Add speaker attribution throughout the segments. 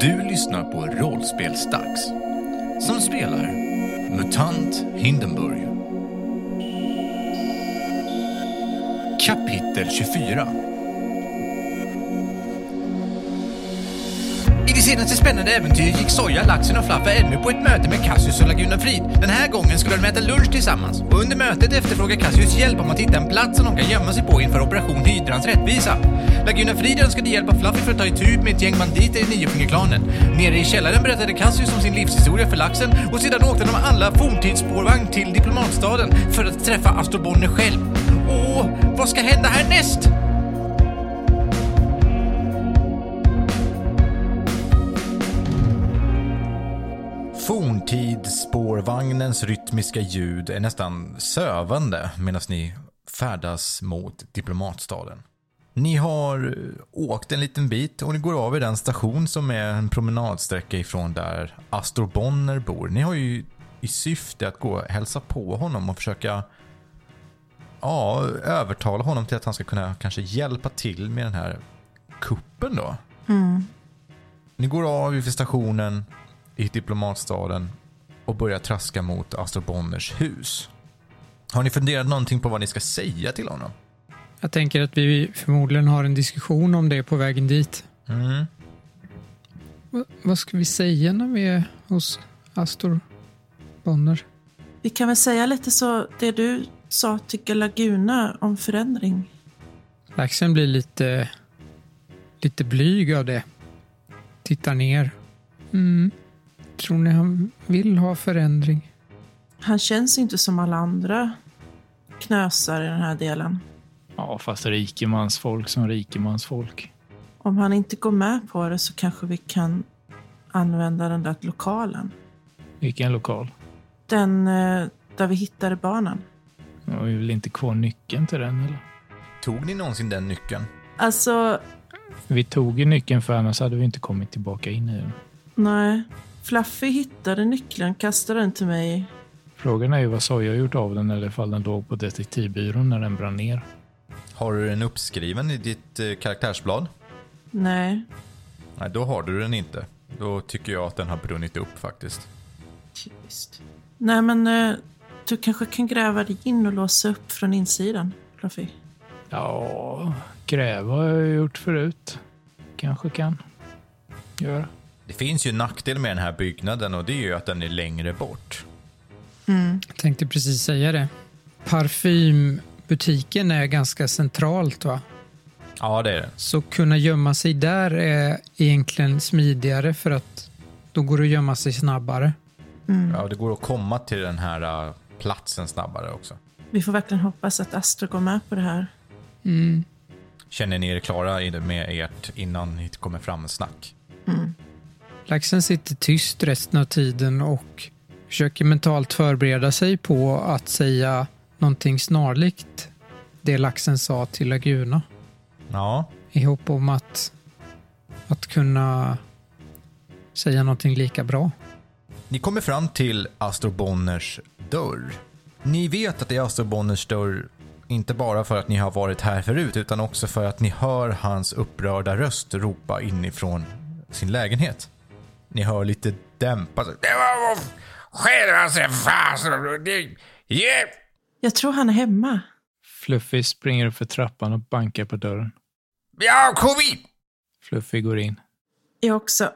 Speaker 1: Du lyssnar på Rollspelsdags som spelar MUTANT Hindenburg. Kapitel 24 I det senaste spännande äventyret gick Soja, Laxen och Flaffa ännu på ett möte med Cassius och Laguna Frid. Den här gången skulle de äta lunch tillsammans och under mötet efterfrågar Cassius hjälp om att hitta en plats som de kan gömma sig på inför Operation Hydrans rättvisa. Laguna Frid önskade hjälp av Fluffy för att ta itu med ett gäng banditer i Niofingerklanen. Nere i källaren berättade Cassius om sin livshistoria för laxen och sedan åkte de alla forntidsspårvagn till diplomatstaden för att träffa Astor Bonner själv. Åh, vad ska hända härnäst? Forntidsspårvagnens rytmiska ljud är nästan sövande medan ni färdas mot diplomatstaden. Ni har åkt en liten bit och ni går av i den station som är en promenadsträcka ifrån där Astor Bonner bor. Ni har ju i syfte att gå och hälsa på honom och försöka ja, övertala honom till att han ska kunna kanske hjälpa till med den här kuppen då. Ni går av vid stationen i diplomatstaden och börjar traska mot Astor Bonners hus. Har ni funderat någonting på vad ni ska säga till honom?
Speaker 2: Jag tänker att vi förmodligen har en diskussion om det på vägen dit.
Speaker 1: Mm.
Speaker 2: Va- vad ska vi säga när vi är hos Astor Bonner?
Speaker 3: Vi kan väl säga lite så det du sa tycker Laguna om förändring.
Speaker 2: Laxen blir lite, lite blyg av det. Tittar ner. Mm. Tror ni han vill ha förändring?
Speaker 3: Han känns inte som alla andra knösar i den här delen.
Speaker 4: Ja, fast rikemansfolk som rikemansfolk.
Speaker 3: Om han inte går med på det så kanske vi kan använda den där lokalen.
Speaker 4: Vilken lokal.
Speaker 3: Den eh, där vi hittade barnen.
Speaker 4: Jag har väl inte kvar nyckeln till den eller?
Speaker 1: Tog ni någonsin den nyckeln?
Speaker 3: Alltså,
Speaker 4: Vi tog ju nyckeln för annars hade vi inte kommit tillbaka in i den.
Speaker 3: nej. Fluffy hittade nyckeln, kastade den till mig.
Speaker 4: Frågan är ju vad Soja har gjort av den eller ifall den låg på detektivbyrån när den brann ner.
Speaker 1: Har du den uppskriven i ditt eh, karaktärsblad?
Speaker 3: Nej,
Speaker 1: Nej, då har du den inte. Då tycker jag att den har brunnit upp faktiskt.
Speaker 3: typiskt. Nej, men eh, du kanske kan gräva dig in och låsa upp från insidan, Fluffy.
Speaker 4: Ja, gräva har jag gjort förut. Kanske kan göra.
Speaker 1: Det finns ju en nackdel med den här byggnaden och det är ju att den är längre bort.
Speaker 2: Jag tänkte precis säga det. Parfymbutiken är ganska centralt va?
Speaker 1: Ja, det är den.
Speaker 2: Så kunna gömma sig där är egentligen smidigare för att då går det att gömma sig snabbare.
Speaker 1: Ja, det går att komma till den här eh, platsen snabbare också.
Speaker 3: Vi får verkligen hoppas att Astro går med på det här.
Speaker 2: Mm.
Speaker 1: Känner ni er klara i det med ert innan ni kommer fram snack?
Speaker 2: Laxen sitter tyst resten av tiden och försöker mentalt förbereda sig på att säga någonting snarlikt det laxen sa till Laguna
Speaker 1: Ja,
Speaker 2: i hopp om att, att kunna säga någonting lika bra.
Speaker 1: Ni kommer fram till Astor Bonners dörr. Ni vet att det är Astor Bonners dörr inte bara för att ni har varit här förut utan också för att ni hör hans upprörda röst ropa inifrån sin lägenhet. Ni hör lite dämpat... Det var själva sig fasen... det- ge-"
Speaker 3: Jag tror han är hemma.
Speaker 4: Fluffy springer upp för trappan och bankar på dörren.
Speaker 1: Ja, kom in!
Speaker 4: Fluffy går in.
Speaker 3: Jag också.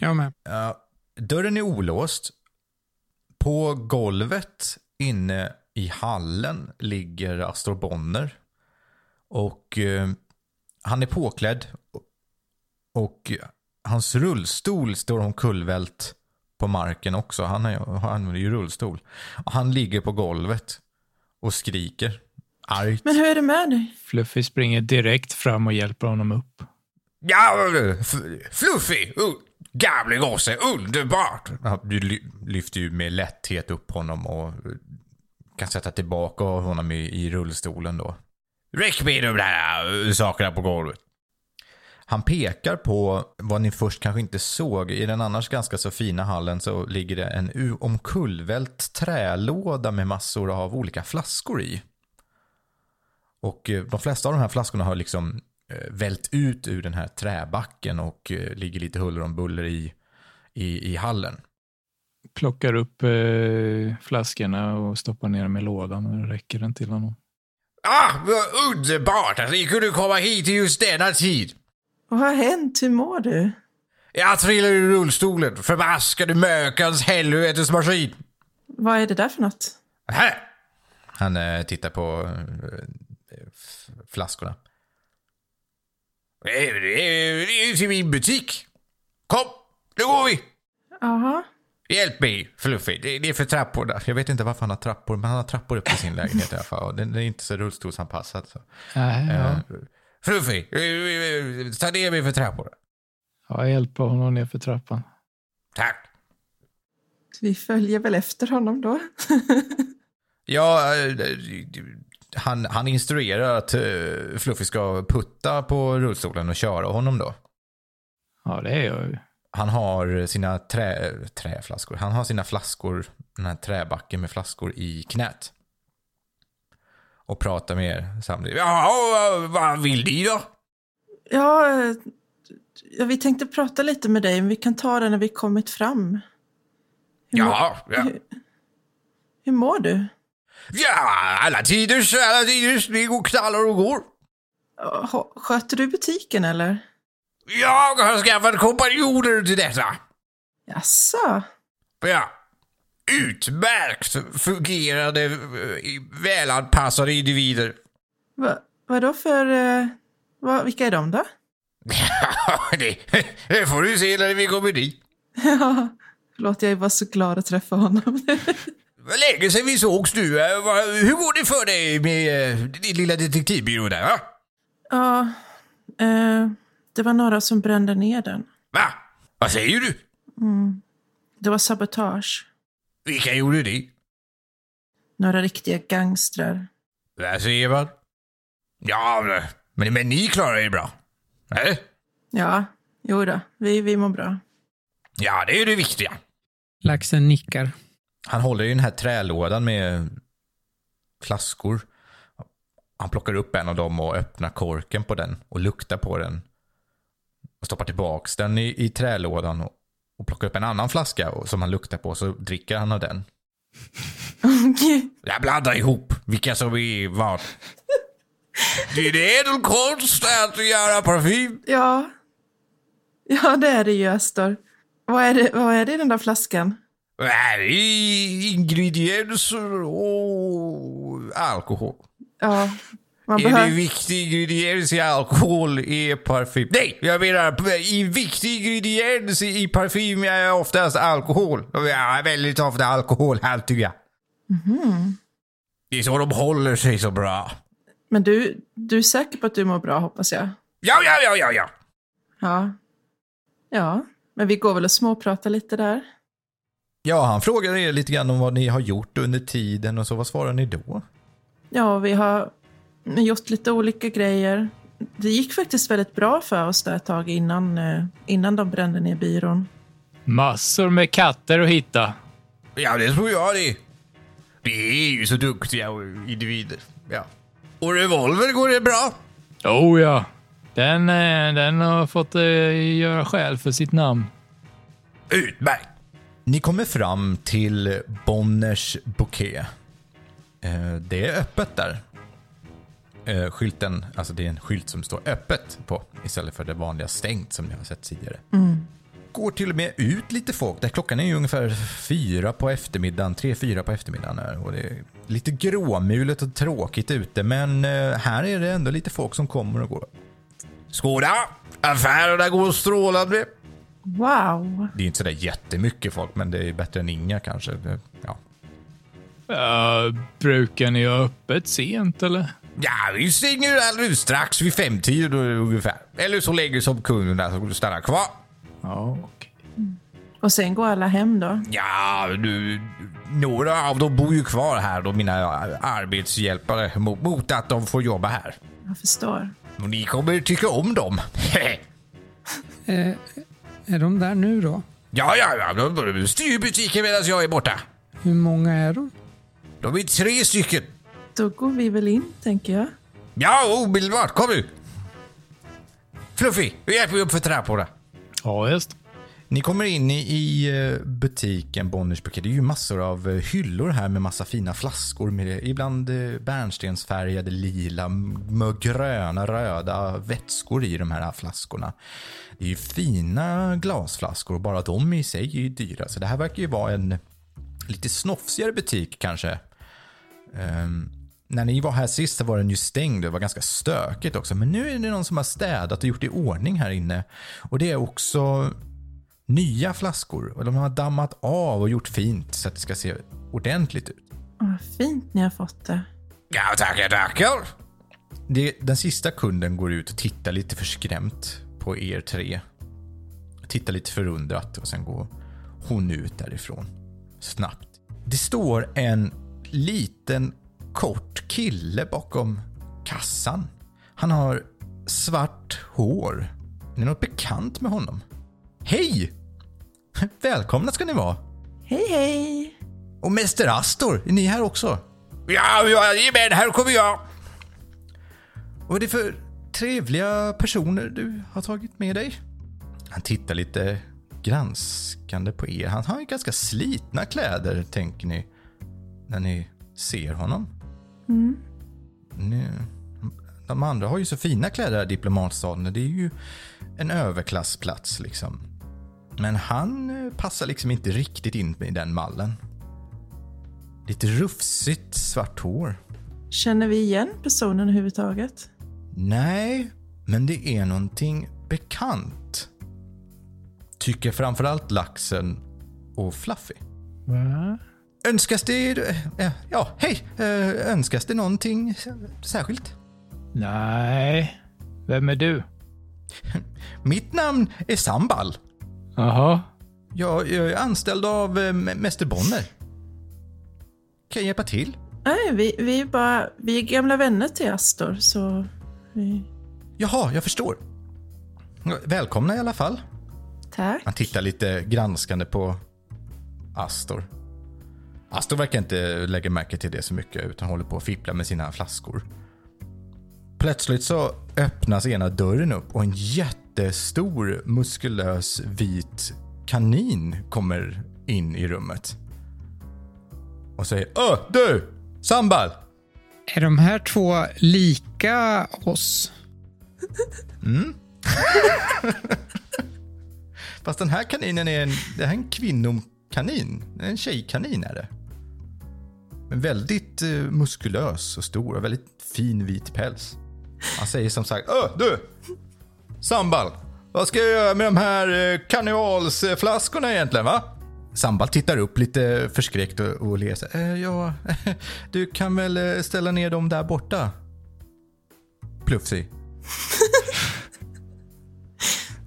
Speaker 2: Jag med.
Speaker 1: Ja, dörren är olåst. På golvet inne i hallen ligger Astor Bonner. Och eh, han är påklädd. Och hans rullstol står omkullvält på marken också. Han, är, han använder ju rullstol. Och han ligger på golvet och skriker argt.
Speaker 3: Men hur är det med dig?
Speaker 4: Fluffy springer direkt fram och hjälper honom upp.
Speaker 1: Ja, f- fluffig, u- gamle gosse, underbart! Ja, Du ly- lyfter ju med lätthet upp honom och eh, kan sätta tillbaka honom i, i rullstolen då. Räck med de där eh, sakerna på golvet. Han pekar på vad ni först kanske inte såg. I den annars ganska så fina hallen så ligger det en u- omkullvält trälåda med massor av olika flaskor i. Och eh, de flesta av de här flaskorna har liksom eh, vält ut ur den här träbacken och eh, ligger lite huller om buller i, i, i hallen.
Speaker 4: Plockar upp eh, flaskorna och stoppar ner dem i lådan. och Räcker den till honom?
Speaker 1: Ah, vad underbart att ni kunde komma hit i just denna tid!
Speaker 3: Vad har hänt? Hur mår du?
Speaker 1: Jag trillar ur rullstolen, förbaskade mökans helvetesmaskin!
Speaker 3: Vad är det där för något?
Speaker 1: Här! Han eh, tittar på eh, f- flaskorna. Det är, det är, det är till min butik. Kom, nu går vi!
Speaker 3: Jaha.
Speaker 1: Hjälp mig, Fluffy. Det, det är för trappor där. Jag vet inte varför han har trappor, men han har trappor upp i sin lägenhet i alla fall. Och Den, den är inte så rullstolsanpassad. Så.
Speaker 4: Nej, Äh, ja.
Speaker 1: Eh, Fluffy, eh, eh, ta ner mig för trappor.
Speaker 4: Jag hjälper honom ner för trappan.
Speaker 1: Tack.
Speaker 3: Vi följer väl efter honom då.
Speaker 1: Ja, eh, han, han instruerar att eh, Fluffy ska putta på rullstolen och köra honom då.
Speaker 4: Ja, det är jag ju.
Speaker 1: Han har sina trä, träflaskor. Han har sina flaskor, den här träbacken med flaskor i knät. Och pratar med er samtidigt. Ja, vad- vad vill ni då?
Speaker 3: ja, eh, ja, vi tänkte prata lite med dig, men vi kan ta det när vi kommit fram. Hur, mår-
Speaker 1: Ja, ja,
Speaker 3: hur, hur mår du?
Speaker 1: ja, alla tiders, alla tiders. Ni går knallar och går.
Speaker 3: H- Sköter du butiken eller?
Speaker 1: Jag har skaffat kompanjoner till detta.
Speaker 3: Jaså?
Speaker 1: Ja. Utmärkt fungerande, eh, välanpassade individer.
Speaker 3: Va, vad då för... Eh, va, vilka är de då?
Speaker 1: det, det får du se när vi kommer dit.
Speaker 3: Ja, Förlåt, jag var så glad att träffa honom.
Speaker 1: Vad länge sedan vi sågs nu. Eh, vad- Hur går det för dig med eh, din lilla detektivbyrå där? Va?
Speaker 3: ja, eh, det var några som brände ner den.
Speaker 1: va? Vad säger du?
Speaker 3: Det var sabotage.
Speaker 1: Vilka gjorde det?
Speaker 3: Några riktiga gangstrar.
Speaker 1: Där ser man. Ja, men, men ni klarar er bra. Eh? Eller?
Speaker 3: Ja, jo då, vi, vi mår bra.
Speaker 1: Ja, det är det viktiga.
Speaker 2: Laxen nickar.
Speaker 1: Han håller i den här trälådan med flaskor. Han plockar upp en av dem och öppnar korken på den och luktar på den. Och stoppar tillbaks den i, i trälådan och, och plockar upp en annan flaska och, som han luktar på så dricker han av den.
Speaker 3: Okej.
Speaker 1: Jag blandar ihop vilka som är vad. Det är en ädel konst att göra parfym.
Speaker 3: ja. ja, det är det ju, Astor. Vad är det, vad är det i den där flaskan?
Speaker 1: Det här är ingredienser och alkohol.
Speaker 3: Ja, man
Speaker 1: Är det
Speaker 3: behöver...
Speaker 1: viktig ingrediens i alkohol är parfym? Nej, jag menar i viktig ingrediens i parfym är oftast alkohol. Ja, väldigt ofta alkoholhaltiga. Mm. Det är så de håller sig så bra.
Speaker 3: Men du, du är säker på att du mår bra, hoppas jag?
Speaker 1: Ja, ja, ja, ja, ja.
Speaker 3: Ja. Ja, men vi går väl och småpratar lite där.
Speaker 1: Ja, han frågade er lite grann om vad ni har gjort under tiden och så. Vad svarar ni då?
Speaker 3: Ja, vi har gjort lite olika grejer. Det gick faktiskt väldigt bra för oss där ett tag innan, eh, innan de brände ner byrån.
Speaker 4: Massor med katter att hitta.
Speaker 1: Ja, det tror jag det. Det är ju så duktiga individer. Ja. Och revolver går det bra.
Speaker 4: Oh ja. Den, eh, den har fått eh, göra skäl för sitt namn.
Speaker 1: Utmärkt! Ni kommer fram till Bonners Bouquet. Eh, Det är öppet där. Eh, Skylten, alltså det är en skylt som står öppet på istället för det vanliga stängt som ni har sett tidigare. Går till och med ut lite folk. Där klockan är ju ungefär fyra på eftermiddagen, tre, fyra på eftermiddagen här. Och det är lite gråmulet och tråkigt ute men eh, här är det ändå lite folk som kommer och går. Skåda! Affärerna går strålande.
Speaker 3: Wow!
Speaker 1: Det är inte sådär jättemycket folk, men det är bättre än inga kanske. Det- Ja,
Speaker 4: Eh, brukar ni ha öppet sent eller?
Speaker 1: ja vi stänger alldeles strax vid femtiden ungefär. Eller så länge som kunderna stannar kvar.
Speaker 4: Ja, okej.
Speaker 3: Och sen går alla hem då.
Speaker 1: Ja, nu, några av dem bor ju kvar här då, mina arbetshjälpare, mot, mot att de får jobba här.
Speaker 3: Jag förstår.
Speaker 1: Och ni kommer tycka om dem.
Speaker 2: Eh, är de där nu då?
Speaker 1: ja, ja, ja, de de styr butiken medan jag är borta.
Speaker 2: Hur många är de?
Speaker 1: De är tre stycken.
Speaker 3: Då går vi väl in, tänker jag.
Speaker 1: Ja, omedelbart. Kom nu. Fluffy, nu hjälper vi upp för träpåla.
Speaker 4: Ja, just.
Speaker 1: Ni kommer in i, i eh, butiken Bonniers Brukar. Det är ju massor av eh, hyllor här med massa fina flaskor. Med, ibland eh, bärnstensfärgade, lila, med gröna, röda vätskor i de här flaskorna. Det är ju fina glasflaskor och bara de i sig är ju dyra. Så det här verkar ju vara en lite snofsigare butik kanske. Ehm, när ni var här sist så var den ju stängd och det var ganska stökigt också. Men nu är det någon som har städat och gjort i ordning här inne. Och det är också nya flaskor. Och de har dammat av och gjort fint så att det ska se ordentligt ut.
Speaker 3: Vad fint ni har fått det.
Speaker 1: Ja, tackar, tackar. Det, den sista kunden går ut och tittar lite förskrämt på er tre. Tittar lite förundrat och sen går hon ut därifrån. Snabbt. Det står en liten kort kille bakom kassan. Han har svart hår. Är det något bekant med honom? Hej! Välkomna ska ni vara.
Speaker 3: Hej, hej!
Speaker 1: Och Mäster Astor, är ni här också? Ja, jajamän, här kommer jag! Vad är det för trevliga personer du har tagit med dig? Han tittar lite granskande på er. Han har ju ganska slitna kläder, tänker ni, när ni ser honom. Ni, de andra har ju så fina kläder här i diplomatsalen. Det är ju en överklassplats liksom. Men han eh, passar liksom inte riktigt in i den mallen. Lite rufsigt svart hår.
Speaker 3: Känner vi igen personen överhuvudtaget?
Speaker 1: Nej, men det är någonting bekant. Tycker framförallt laxen och Fluffy.
Speaker 4: Va?
Speaker 1: Önskas det... eh, Ja, hej! Eh, Önskas det någonting särskilt?
Speaker 4: Nej. Vem är du?
Speaker 1: Mitt namn är Sambal.
Speaker 4: Jaha.
Speaker 1: Jag, jag är anställd av eh, M- Mäster Bonner. Kan jag hjälpa till?
Speaker 3: Nej, vi, vi, är bara, vi är gamla vänner till Astor, så vi...
Speaker 1: Jaha, jag förstår. Välkomna i alla fall.
Speaker 3: Tack.
Speaker 1: Han tittar lite granskande på Astor. Astor verkar inte lägga märke till det så mycket utan håller på att fippla med sina flaskor. Plötsligt så öppnas ena dörren upp och en jättestor muskulös vit kanin kommer in i rummet. Och säger Öh, du! Sambal!
Speaker 2: Är de här två lika oss?
Speaker 1: Fast den här kaninen är en, det här är en kvinnokanin. En tjejkanin är det. Men väldigt eh, muskulös och stor och väldigt fin vit päls. Han säger som sagt Öh, du! Sambal! Vad ska jag göra med de här eh, karnevalsflaskorna egentligen va? Sambal tittar upp lite förskräckt och, och ler sig. eh, Ja, du kan väl eh, ställa ner dem där borta? Plufsig.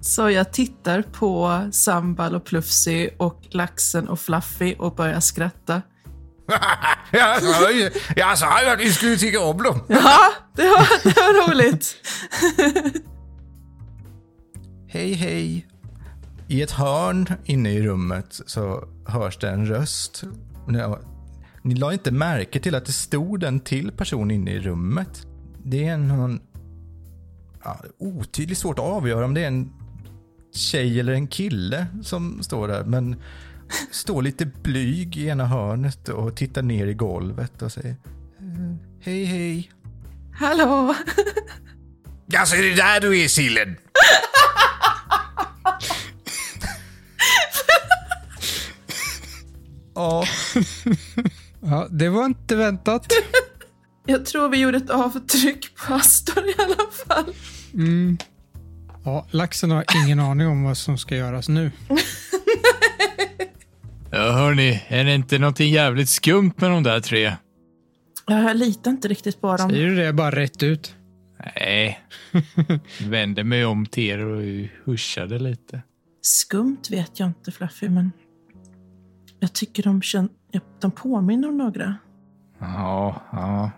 Speaker 3: Så jag tittar på Sambal och Plufsy och Laxen och Fluffy och börjar skratta.
Speaker 1: jag sa ju jag sa alltså, ju att ni skulle tycka om dem.
Speaker 3: Ja, det var, det var roligt.
Speaker 1: Hej, hej. I ett hörn inne i rummet så hörs det en röst. Ni- Ni la inte märke till att det stod en till person inne i rummet. Det är någon... Ja, otydligt svårt att avgöra om det är en tjej eller en kille som står där. Men står lite blyg i ena hörnet och tittar ner i golvet och säger "Eh, Hej, hej.
Speaker 3: Hallå!
Speaker 1: Alltså är det där du är sillen? Ja,
Speaker 2: Ja, det var inte väntat.
Speaker 3: Jag tror vi gjorde ett avtryck på Astor i alla fall.
Speaker 2: Ja, laxen har ingen aning om vad som ska göras nu.
Speaker 4: Ja, hörni. Är det inte någonting jävligt skumt med de där tre?
Speaker 3: Ja, Jag litar inte riktigt på dem.
Speaker 2: Säger du det bara rätt ut?
Speaker 4: Nej. Vände mig om till er och huschade lite.
Speaker 3: Skumt vet jag inte, Fluffy, men jag tycker de, kän- ja, de påminner om några.
Speaker 4: Ja, ja.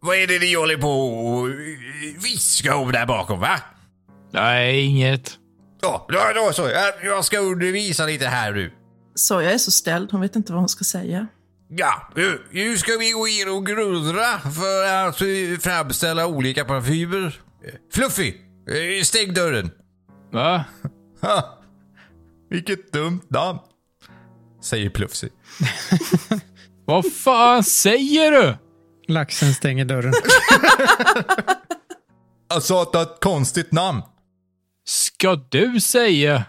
Speaker 1: Vad är det ni håller på och viskar om där bakom, va?
Speaker 4: Nej, inget.
Speaker 1: Ja, då, då så. Jag- Jag ska undervisa lite här nu.
Speaker 3: Så jag är så ställd, hon vet inte vad hon ska säga.
Speaker 1: Ja, nu- nu ska vi gå in och grunnra för att eh, framställa olika parfymer. Fluffy, Eh, Stäng dörren!
Speaker 4: Va?
Speaker 1: Ha! Vilket dumt namn! Säger Plufsig.
Speaker 4: Vad fan säger du?
Speaker 2: Laxen stänger dörren.
Speaker 1: Jag sa Alltså, att det har ett konstigt namn.
Speaker 4: Ska du säga?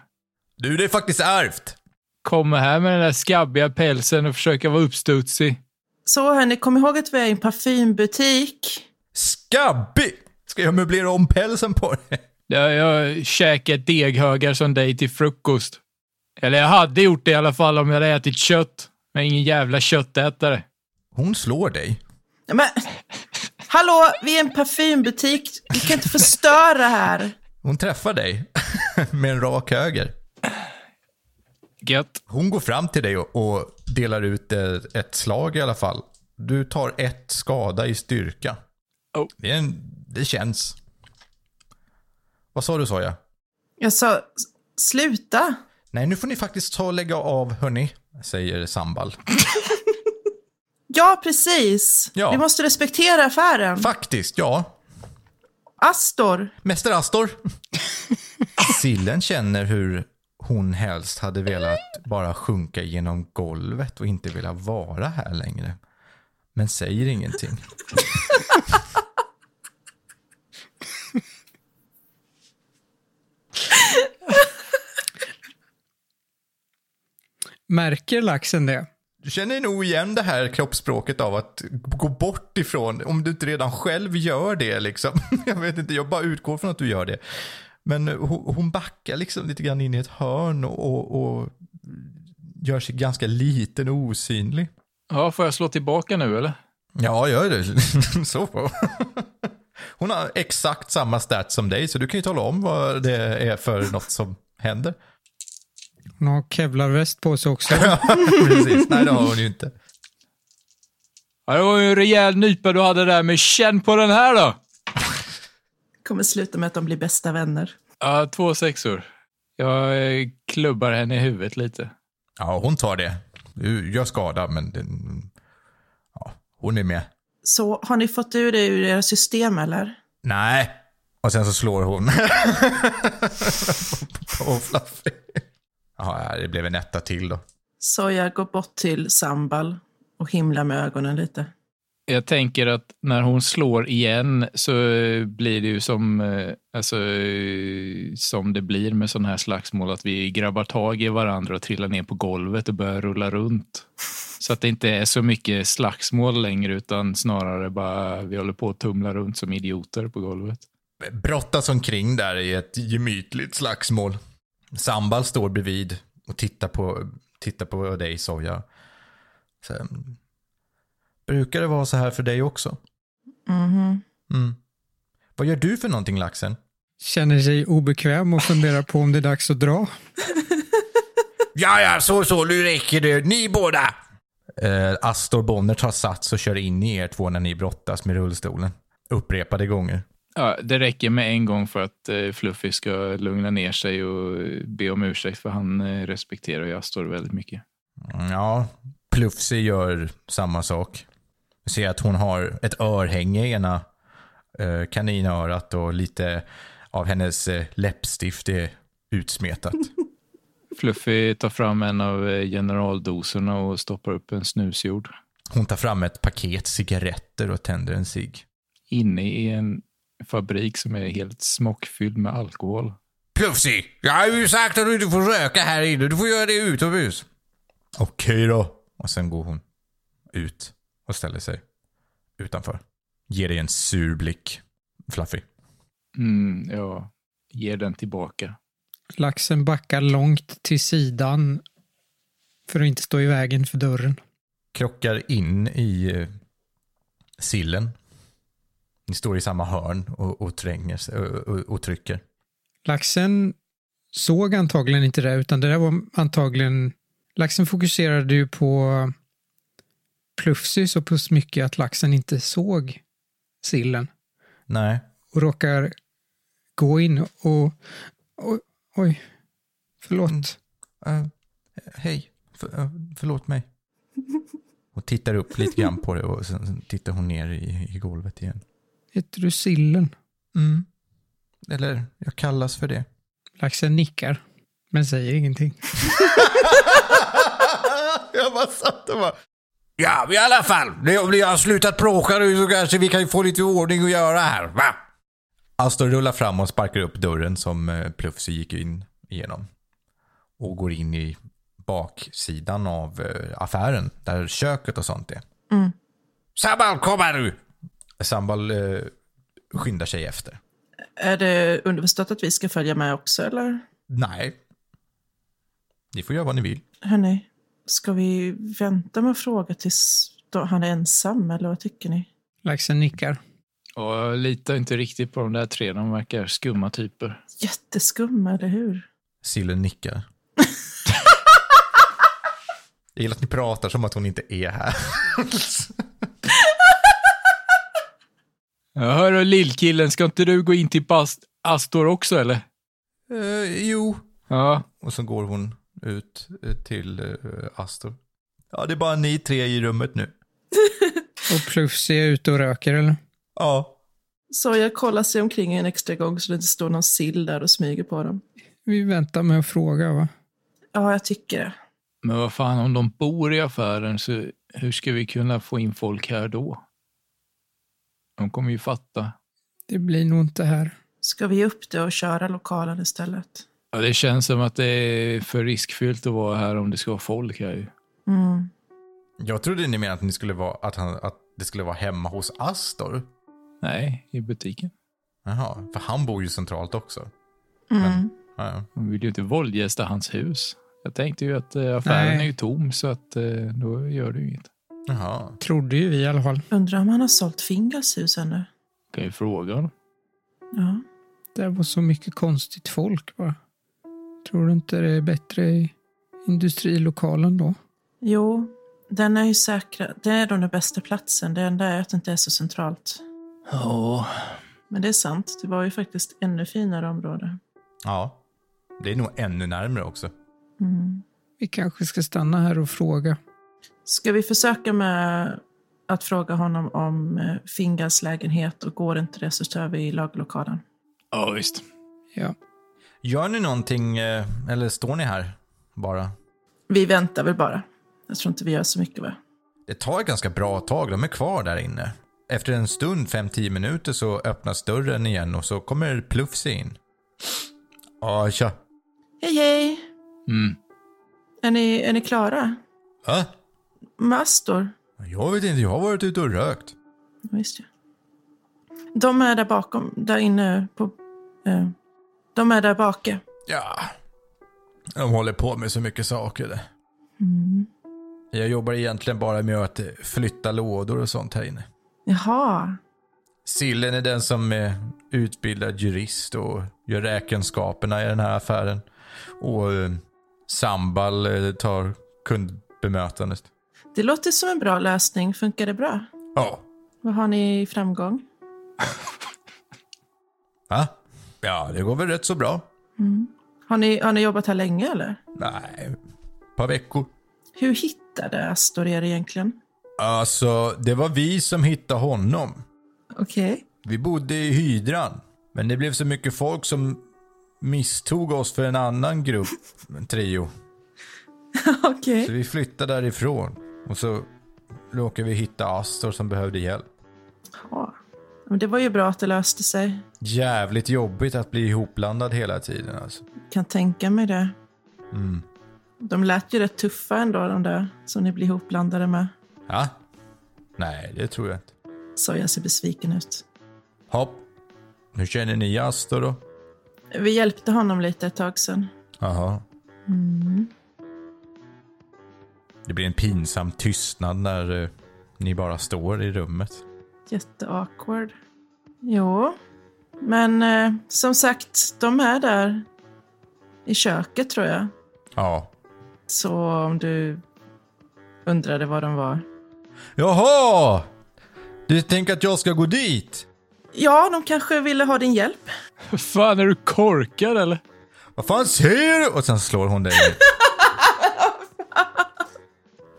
Speaker 1: Du, det är faktiskt ärvt.
Speaker 4: Kommer här med den där skabbiga pälsen och försöka vara uppstudsig.
Speaker 3: Så hörni, kom ihåg att vi är i en parfymbutik.
Speaker 1: Skabbig! Ska jag möblera om pälsen på dig?
Speaker 4: Jag, jag käkar deghögar som dig till frukost. Eller jag hade gjort det i alla fall om jag hade ätit kött. Men ingen jävla köttätare.
Speaker 1: Hon slår dig.
Speaker 3: Ja, Men, hallå, vi är en parfymbutik. Vi kan inte förstöra här.
Speaker 1: Hon träffar dig med en rak höger.
Speaker 4: Gött.
Speaker 1: Hon går fram till dig och, och delar ut eh, ett slag i alla fall. Du tar ett skada i styrka.
Speaker 4: Oh.
Speaker 1: Det, är en, det känns. Vad sa du, sa jag?
Speaker 3: Jag sa, "S- sluta.
Speaker 1: Nej, nu får ni faktiskt ta och lägga av, hörni, säger Sambal.
Speaker 3: Ja, precis.
Speaker 1: Ja.
Speaker 3: Vi måste respektera affären.
Speaker 1: Faktiskt, ja.
Speaker 3: Astor.
Speaker 1: Mäster Astor. Sillen känner hur hon helst hade velat bara sjunka genom golvet och inte vilja vara här längre. Men säger ingenting.
Speaker 2: Märker laxen det?
Speaker 1: Du känner nog igen det här kroppsspråket av att gå bort ifrån, om du inte redan själv gör det liksom. Jag vet inte, jag bara utgår från att du gör det. Men hon hon backar liksom lite grann in i ett hörn och, och, och gör sig ganska liten och osynlig.
Speaker 4: Ja, får jag slå tillbaka nu eller?
Speaker 1: Ja, gör det. så. Hon har exakt samma stats som dig, så du kan ju tala om vad det är för något som händer.
Speaker 2: Hon har kevlarväst på sig också.
Speaker 1: Precis. Nej, det har hon ju inte.
Speaker 4: Ja, det var ju en rejäl nypa du hade där, men känn på den här då!
Speaker 3: Kommer sluta med att de blir bästa vänner.
Speaker 4: Ja, två sexor. Jag eh, klubbar henne i huvudet lite.
Speaker 1: Ja, hon tar det. Du gör skada, men den, ja, hon är med.
Speaker 3: Så har ni fått ur det ur era system eller?
Speaker 1: Nej. Och sen så slår hon. på Fluffy. Ja, det blev en etta till då.
Speaker 3: Så jag går bort till Sambal och himlar med ögonen lite.
Speaker 4: Jag tänker att när hon slår igen så eh, blir det ju som, eh, alltså, eh, som det blir med sådana här slagsmål, att vi grabbar tag i varandra och trillar ner på golvet och börjar rulla runt. Så att det inte är så mycket slagsmål längre, utan snarare bara vi håller på att tumla runt som idioter på golvet.
Speaker 1: brottas omkring där i ett gemytligt slagsmål. Sambal står bredvid och tittar på, tittar på dig, Soja. Så, mm, brukar det vara så här för dig också?
Speaker 3: Mhm.
Speaker 1: Mm. Vad gör du för någonting, laxen?
Speaker 2: Känner sig obekväm och funderar på om det är dags att dra.
Speaker 1: Ja, ja, så, så, nu räcker det. Ni båda! Eh, Astor Bonner tar sats och kör in i er två när ni brottas med rullstolen. Upprepade gånger.
Speaker 4: Ja, det räcker med en gång för att eh, Fluffy ska lugna ner sig och eh, be om ursäkt för han eh, respekterar ju Astor väldigt mycket.
Speaker 1: Mm, Ja, Plufsi gör samma sak. Vi ser att hon har ett örhänge i ena eh, kaninörat och lite av hennes eh, läppstift är utsmetat.
Speaker 4: Fluffy tar fram en av eh, generaldoserna och stoppar upp en snusjord
Speaker 1: Hon tar fram ett paket cigaretter och tänder en cigg.
Speaker 4: inne i en fabrik som är helt smockfylld med alkohol.
Speaker 1: Plufsi, jag har ju sagt att du inte får röka här inne. Du får göra det utomhus. Okej då. Och sen går hon ut och ställer sig utanför. Ger dig en sur blick, Fluffy.
Speaker 4: Mm, ja, ger den tillbaka.
Speaker 2: Laxen backar långt till sidan för att inte stå i vägen för dörren.
Speaker 1: krockar in i eh, sillen. Ni står i samma hörn och, och tränger sig- och, och, och trycker.
Speaker 2: Laxen såg antagligen inte det, utan det där var antagligen... Laxen fokuserade ju på Plufsy så pass mycket att laxen inte såg sillen
Speaker 1: Nej.
Speaker 2: och råkar gå in och... Oj, oj förlåt.
Speaker 1: Eh, hej. För, eh, förlåt mig. Och tittar upp lite grann på det och sen sen tittar hon ner i, i golvet igen.
Speaker 2: Heter du sillen?
Speaker 1: Mm. Eller jag kallas för det.
Speaker 2: Laxen nickar, men säger ingenting.
Speaker 1: jag bara satt och bara... Ja, men i alla fall. nu- Om ni har slutat bråka nu så kanske vi kan få lite ordning att göra här, va? Astor rullar fram och sparkar upp dörren som eh, Plufsy gick in igenom. Och går in i baksidan av eh, affären, där köket och sånt är. Sambal, kom här nu! Sambal eh, skyndar sig efter.
Speaker 3: Är det underförstått att vi ska följa med också, eller?
Speaker 1: Nej. Ni får göra vad ni vill.
Speaker 3: Hörni, ska vi vänta med att fråga tills då han är ensam, eller vad tycker ni?
Speaker 2: Laxen nickar.
Speaker 4: Och jag litar inte riktigt på de där tre. De verkar skumma typer.
Speaker 3: Jätteskum, eller hur?
Speaker 1: Sillen nickar. Jag gillar att ni pratar som att hon inte är här.
Speaker 4: Ja, Hörru lillkillen, ska inte du gå in till Bast- Astor också eller?
Speaker 1: Eh, jo.
Speaker 4: Ja,
Speaker 1: Och så går hon ut eh, till uh, Astor. Ja, det är bara ni tre i rummet nu.
Speaker 2: Och Plufsy är ute och röker eller?
Speaker 1: Ja.
Speaker 3: Så jag kollar sig omkring en extra gång så det inte står någon sill där och smyger på dem.
Speaker 2: Vi väntar med att fråga va?
Speaker 3: Ja, jag tycker det.
Speaker 4: men vad fan om de bor i affären så hur ska vi kunna få in folk här då? De kommer ju fatta.
Speaker 2: Det blir nog inte här.
Speaker 3: Ska vi ge upp det och köra lokalen istället?
Speaker 4: Ja, det känns som att det är för riskfyllt att vara här om det ska vara folk här ju.
Speaker 3: Mm.
Speaker 1: Jag trodde ni menade att, ni skulle vara, att, han, att det skulle vara hemma hos Astor.
Speaker 4: Nej, i butiken.
Speaker 1: Jaha, för han bor ju centralt också.
Speaker 3: Mm.
Speaker 1: Ja, ja.
Speaker 4: Man vill ju inte våldgästa hans hus. Jag tänkte ju att eh, affären
Speaker 2: Nej.
Speaker 4: är ju tom så att eh, då gör det ju inget.
Speaker 1: Jaha.
Speaker 2: Trodde ju vi i alla fall.
Speaker 3: Undrar om han har sålt Fingals hus ännu?
Speaker 4: Kan ju fråga honom.
Speaker 3: Ja.
Speaker 2: Det var så mycket konstigt folk bara. Tror du inte det är bättre i industrilokalen då?
Speaker 3: Jo, den är ju säkra. Det är nog den bästa platsen. Det enda är att det inte är så centralt.
Speaker 4: Ja,
Speaker 3: Men det är sant. Det var ju faktiskt ännu finare område.
Speaker 1: Ja. Det är nog ännu närmare också.
Speaker 3: Mm.
Speaker 2: Vi kanske ska stanna här och fråga.
Speaker 3: Ska vi försöka med att fråga honom om eh, Fingals lägenhet och går inte det så kör vi i laglokalen.
Speaker 4: ja visst.
Speaker 2: Ja,
Speaker 1: Gör ni någonting, eh, eller står ni här bara?
Speaker 3: Vi väntar väl bara. Jag tror inte vi gör så mycket va?
Speaker 1: Det tar ett ganska bra tag, de är kvar där inne. Efter en stund, 5-10 minuter, så öppnas dörren igen och så kommer Plufsi in. Ja, tja.
Speaker 3: Hej hej!
Speaker 4: Mm.
Speaker 3: Är ni, är ni klara?
Speaker 1: Va?
Speaker 3: Mastor?
Speaker 1: Jag vet inte, jag har varit ute och rökt.
Speaker 3: Ja, Visst ja. De är där bakom, där inne på... Eh, de är där bake.
Speaker 1: Ja. De håller på med så mycket saker. det. Jag jobbar egentligen bara med att eh, flytta lådor och sånt här inne.
Speaker 3: Jaha.
Speaker 1: Sillen är den som är utbildad jurist och gör räkenskaperna i den här affären. Och eh, Sambal eh, tar kundbemötandet.
Speaker 3: Det låter som en bra lösning. Funkar det bra?
Speaker 1: Ja.
Speaker 3: Vad har ni i framgång?
Speaker 1: Va? Ja, det går väl rätt så bra.
Speaker 3: Har ni, har ni jobbat här länge eller?
Speaker 1: Nej, ett par veckor.
Speaker 3: Hur hittade Astor er egentligen?
Speaker 1: Alltså, det var vi som hittade honom.
Speaker 3: Okej.
Speaker 1: Vi bodde i hydran. Men det blev så mycket folk som misstog oss för en annan grupp, en trio.
Speaker 3: Okej.
Speaker 1: Så vi flyttade därifrån. Och så råkade vi hitta Astor som behövde hjälp.
Speaker 3: Ja. Men det var ju bra att det löste sig.
Speaker 1: Jävligt jobbigt att bli ihopblandad hela tiden alltså.
Speaker 3: Kan tänka mig det. De lät ju rätt tuffa ändå de där som ni blir ihopblandade med.
Speaker 1: Ja? Nej, det tror jag inte.
Speaker 3: Så jag ser besviken ut.
Speaker 1: Hopp. Hur känner ni Astor då?
Speaker 3: Vi hjälpte honom lite ett tag sedan.
Speaker 1: Jaha. Det blir en pinsam tystnad när eh, ni bara står i rummet.
Speaker 3: Jätteawkward. Jo, men eh, som sagt, de är där i köket tror jag.
Speaker 1: Ja.
Speaker 3: Så om du undrade var de var.
Speaker 1: Jaha! Du tänker att jag ska gå dit?
Speaker 3: Ja, de kanske ville ha din hjälp.
Speaker 4: Fan, är du korkad eller?
Speaker 1: Vad fan säger du? Och sen slår hon dig.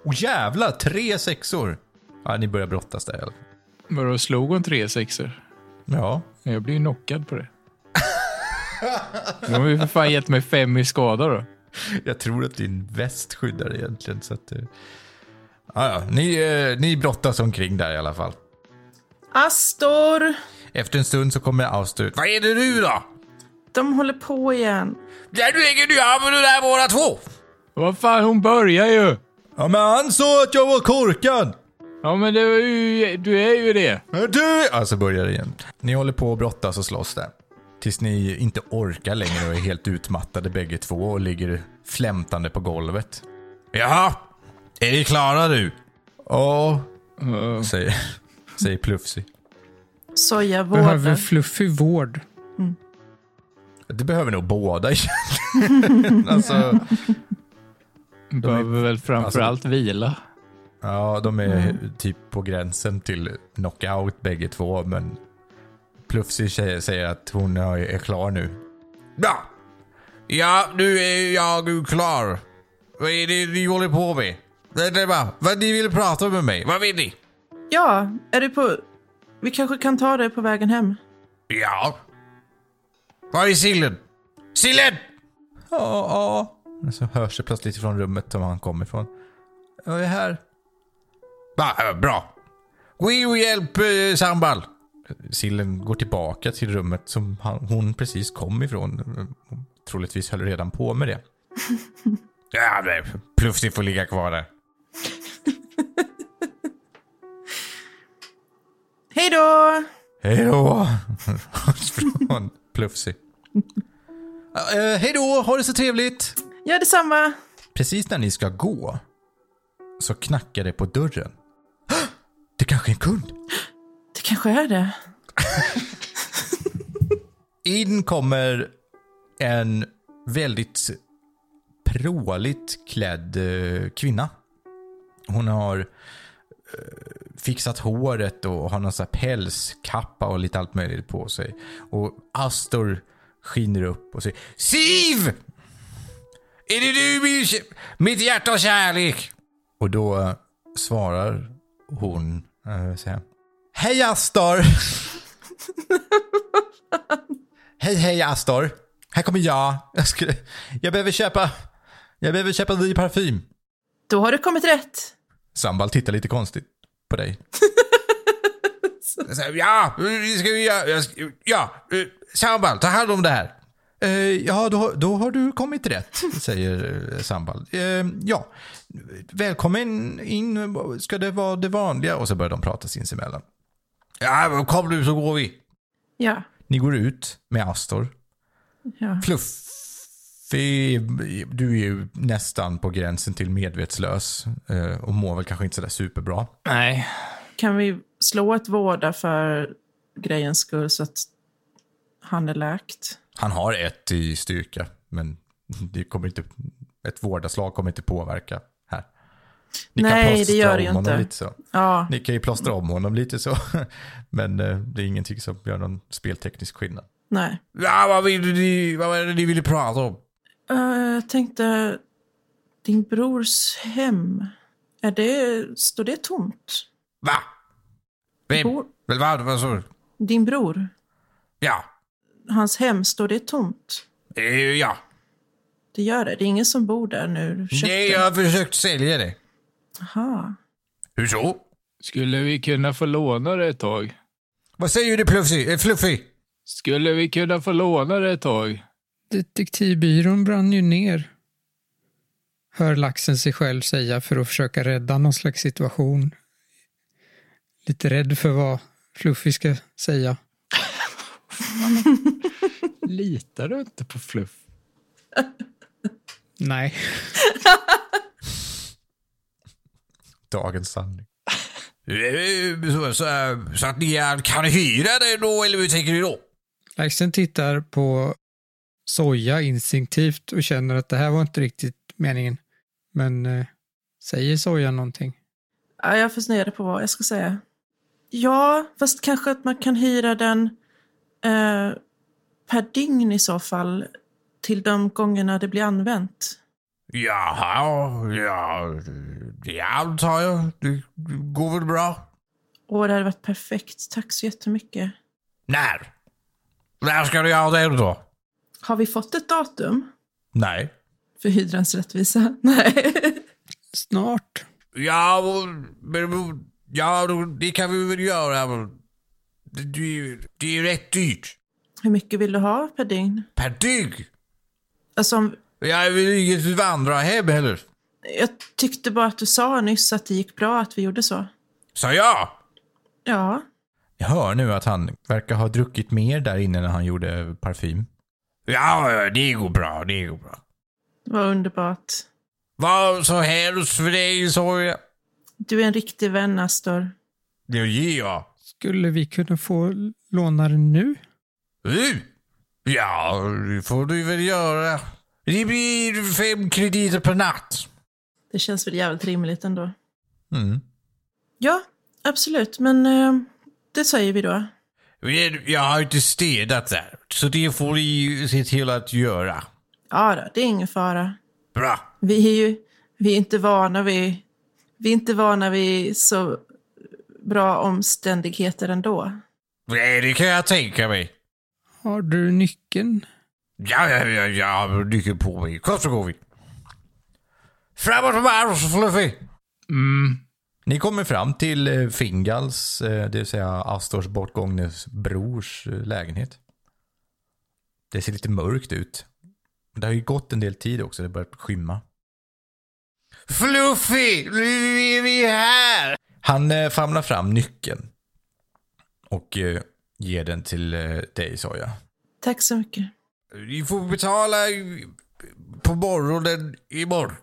Speaker 1: Åh jävlar, tre sexor! Ja, ni börjar brottas där i alla fall.
Speaker 4: Men då slog hon tre sexor.
Speaker 1: Ja.
Speaker 4: Jag blir ju knockad på det. De har ju för fan gett mig fem i skada då.
Speaker 1: Jag tror att din väst skyddar dig egentligen. Så att, eh, ja, ja. ni, eh, ni brottas omkring där i alla fall.
Speaker 3: Astor!
Speaker 1: Efter en stund så kommer Austur. Vad är det nu då?
Speaker 3: De håller på igen.
Speaker 1: Där du ligger nu, ja men du där båda två.
Speaker 4: Vad fan, hon börjar ju!
Speaker 1: Ja men han sa att jag var korkad.
Speaker 4: Ja, men det var ju, du är ju det.
Speaker 1: Men Du! Alltså börjar det igen. Ni håller på att brottas och slåss där. Tills ni inte orkar längre och är helt utmattade bägge två och ligger flämtande på golvet. Jaha! Är vi klara nu? Ja,
Speaker 4: Eh,
Speaker 1: säger, säger Plufsy.
Speaker 3: Sojavården.
Speaker 2: Behöver fluffig vård.
Speaker 1: Det behöver nog båda egentligen. alltså,
Speaker 4: Behöver väl
Speaker 1: alltså-
Speaker 4: framförallt vila.
Speaker 1: ja, de är typ på gränsen till knockout bägge två, men Plufsy säger säger att hon är är klar nu. Ja! Ja, nu är jag klar. Vad är det ni håller på med? Det är bara, vad ni vill prata med mig? Vad vill ni?
Speaker 3: Ja, är du på... Vi kanske kan ta dig på vägen hem.
Speaker 1: Ja. Var är sillen? Sillen! Ja, ja. Men Så hörs det plötsligt från rummet som han kommer ifrån. Jag är här. eh, bra. Gå in och hjälp eh, Sambal. Sillen går tillbaka till rummet som han, hon precis kom ifrån. Hon Troligtvis höll redan på med det. ja, nej, Plufsig får ligga kvar där.
Speaker 3: Hej då!
Speaker 1: Hej då! från Plufsig. Uh, hej då, ha det så trevligt!
Speaker 3: Ja, detsamma.
Speaker 1: Precis när ni ska gå så knackar det på dörren. Det kanske är en kund.
Speaker 3: Det kanske är det.
Speaker 1: In kommer en väldigt pråligt klädd eh, kvinna. Hon har eh, fixat håret och har någon sån här pälskappa och lite allt möjligt på sig. Och Astor skiner upp och säger Siv! Är det du min, kä- mitt hjärta och kärlek? Och då eh, svarar hon eh, så här. Hej Astor! Hej hej Astor. Här kommer jag. Jag, skulle, jag behöver köpa... Jag behöver köpa ny parfym.
Speaker 3: Då har du kommit rätt.
Speaker 1: Sambal tittar lite konstigt på dig. Så här, ja, vi ska vi göra? Jag ska- Ja, eh, Sambal, ta hand om det här. Eh, ja, då, då har du kommit rätt, säger eh, Sambal. Eh, ja, välkommen in. Ska det vara det vanliga? Och så börjar de prata sinsemellan. Ja, men kom nu så går vi.
Speaker 3: Ja.
Speaker 1: Ni går ut med Astor.
Speaker 3: ja.
Speaker 1: Fluffy, du är ju nästan på gränsen till medvetslös eh, och mår väl kanske inte sådär superbra.
Speaker 4: Nej.
Speaker 3: Kan vi slå ett vårda för grejens skull så att han är läkt?
Speaker 1: Han har ett i styrka, men det kommer inte, ett vårdaslag kommer inte påverka här. Ni
Speaker 3: Nej, det
Speaker 1: plåstra
Speaker 3: gör det
Speaker 1: om
Speaker 3: ju
Speaker 1: honom
Speaker 3: inte.
Speaker 1: Lite så.
Speaker 3: Ja,
Speaker 1: Ni kan ju plåstra om honom lite så, men eh, det är ingenting som gör någon spelteknisk skillnad.
Speaker 3: nej.
Speaker 1: Ja, vad, vill ni, vad var det ni ville prata om?
Speaker 3: Eh, jag tänkte, din brors hem, är det, står det tomt?
Speaker 1: Va? Vem?
Speaker 3: Bor-
Speaker 1: Väl vad? Vad sa du?
Speaker 3: Din bror,
Speaker 1: Ja.
Speaker 3: hans hem, står det tomt?
Speaker 1: Eh, Ja.
Speaker 3: Det gör det, det är ingen som bor där nu. Du köpte-
Speaker 1: Nej, jag har försökt sälja det.
Speaker 3: Aha.
Speaker 1: Hur så?
Speaker 4: Skulle vi kunna få låna det ett tag?
Speaker 1: Vad säger du Plufsy? Eh, Fluffy?
Speaker 4: Skulle vi kunna få låna det ett tag?
Speaker 2: Detektivbyrån brann ju ner. Hör laxen sig själv säga för att försöka rädda någon slags situation. Lite rädd för vad Fluffy ska säga.
Speaker 4: Litar du inte på Fluff?
Speaker 2: Nej.
Speaker 1: Dagens sanning. så, så, så att ni är- kan hyra det då, eller hur tänker ni då?
Speaker 2: Laxen tittar på soja instinktivt och känner att det här var inte riktigt meningen. Men eh, säger soja någonting?
Speaker 3: Ja, jag funderade på vad jag ska säga. Ja, fast kanske att man kan hyra den eh, per dygn i så fall. Till de gångerna det blir använt.
Speaker 1: Jaha, ja, det antar jag. Det går väl bra?
Speaker 3: Åh, det hade varit perfekt. Tack så jättemycket.
Speaker 1: När? När ska du göra det då?
Speaker 3: Har vi fått ett datum
Speaker 1: Nej.
Speaker 3: för hydrans rättvisa? Nej.
Speaker 2: Snart.
Speaker 1: Ja, men- ja, det kan vi väl göra. Det, det, det är rätt dyrt.
Speaker 3: Hur mycket vill du ha per dygn?
Speaker 1: Per dygg.
Speaker 3: Alltså, om-
Speaker 1: Jag vill inget vandrarhem heller.
Speaker 3: jag tyckte bara att du sa nyss att det gick bra att vi gjorde så.
Speaker 1: Sa jag!
Speaker 3: Ja,
Speaker 1: Jag hör nu att han verkar ha druckit mer där inne när han gjorde parfym. Ja, ja, det går bra, det går bra.
Speaker 3: det var underbart.
Speaker 1: Vad som helst för dig, sa jag.
Speaker 3: Du är en riktig vän, Astor.
Speaker 1: Det ger jag.
Speaker 2: Skulle vi kunna få låna den nu?
Speaker 1: Du? Ja, det får du väl göra. Det blir fem krediter per natt.
Speaker 3: Det känns väl jävligt rimligt ändå.
Speaker 1: Mm.
Speaker 3: Ja, absolut. Men eh, det säger vi då.
Speaker 1: Men Jag har inte städat där, så det får ni se till att göra.
Speaker 3: Ja, då, det är ingen fara.
Speaker 1: Bra.
Speaker 3: Vi är ju vi är inte vana vid, vi är inte vana vid så bra omständigheter ändå.
Speaker 1: Nej, det kan jag tänka mig.
Speaker 2: Har du nyckeln?
Speaker 1: Ja, ja, ja, ja, dyker på mig. Kom så går vi. Framåt marsch, Fluffy!
Speaker 4: Mm.
Speaker 1: Ni kommer fram till eh, Fingals, eh, det vill säga Astors bortgångnes brors eh, lägenhet. Det ser lite mörkt ut. Det har ju gått en del tid också, det börjar skymma. Fluffy! Nu är vi här! Han eh, famlar fram nyckeln. Och eh, ger den till eh, dig, sa jag.
Speaker 3: Tack så mycket.
Speaker 1: Ni får betala i- på morgonen imorgon.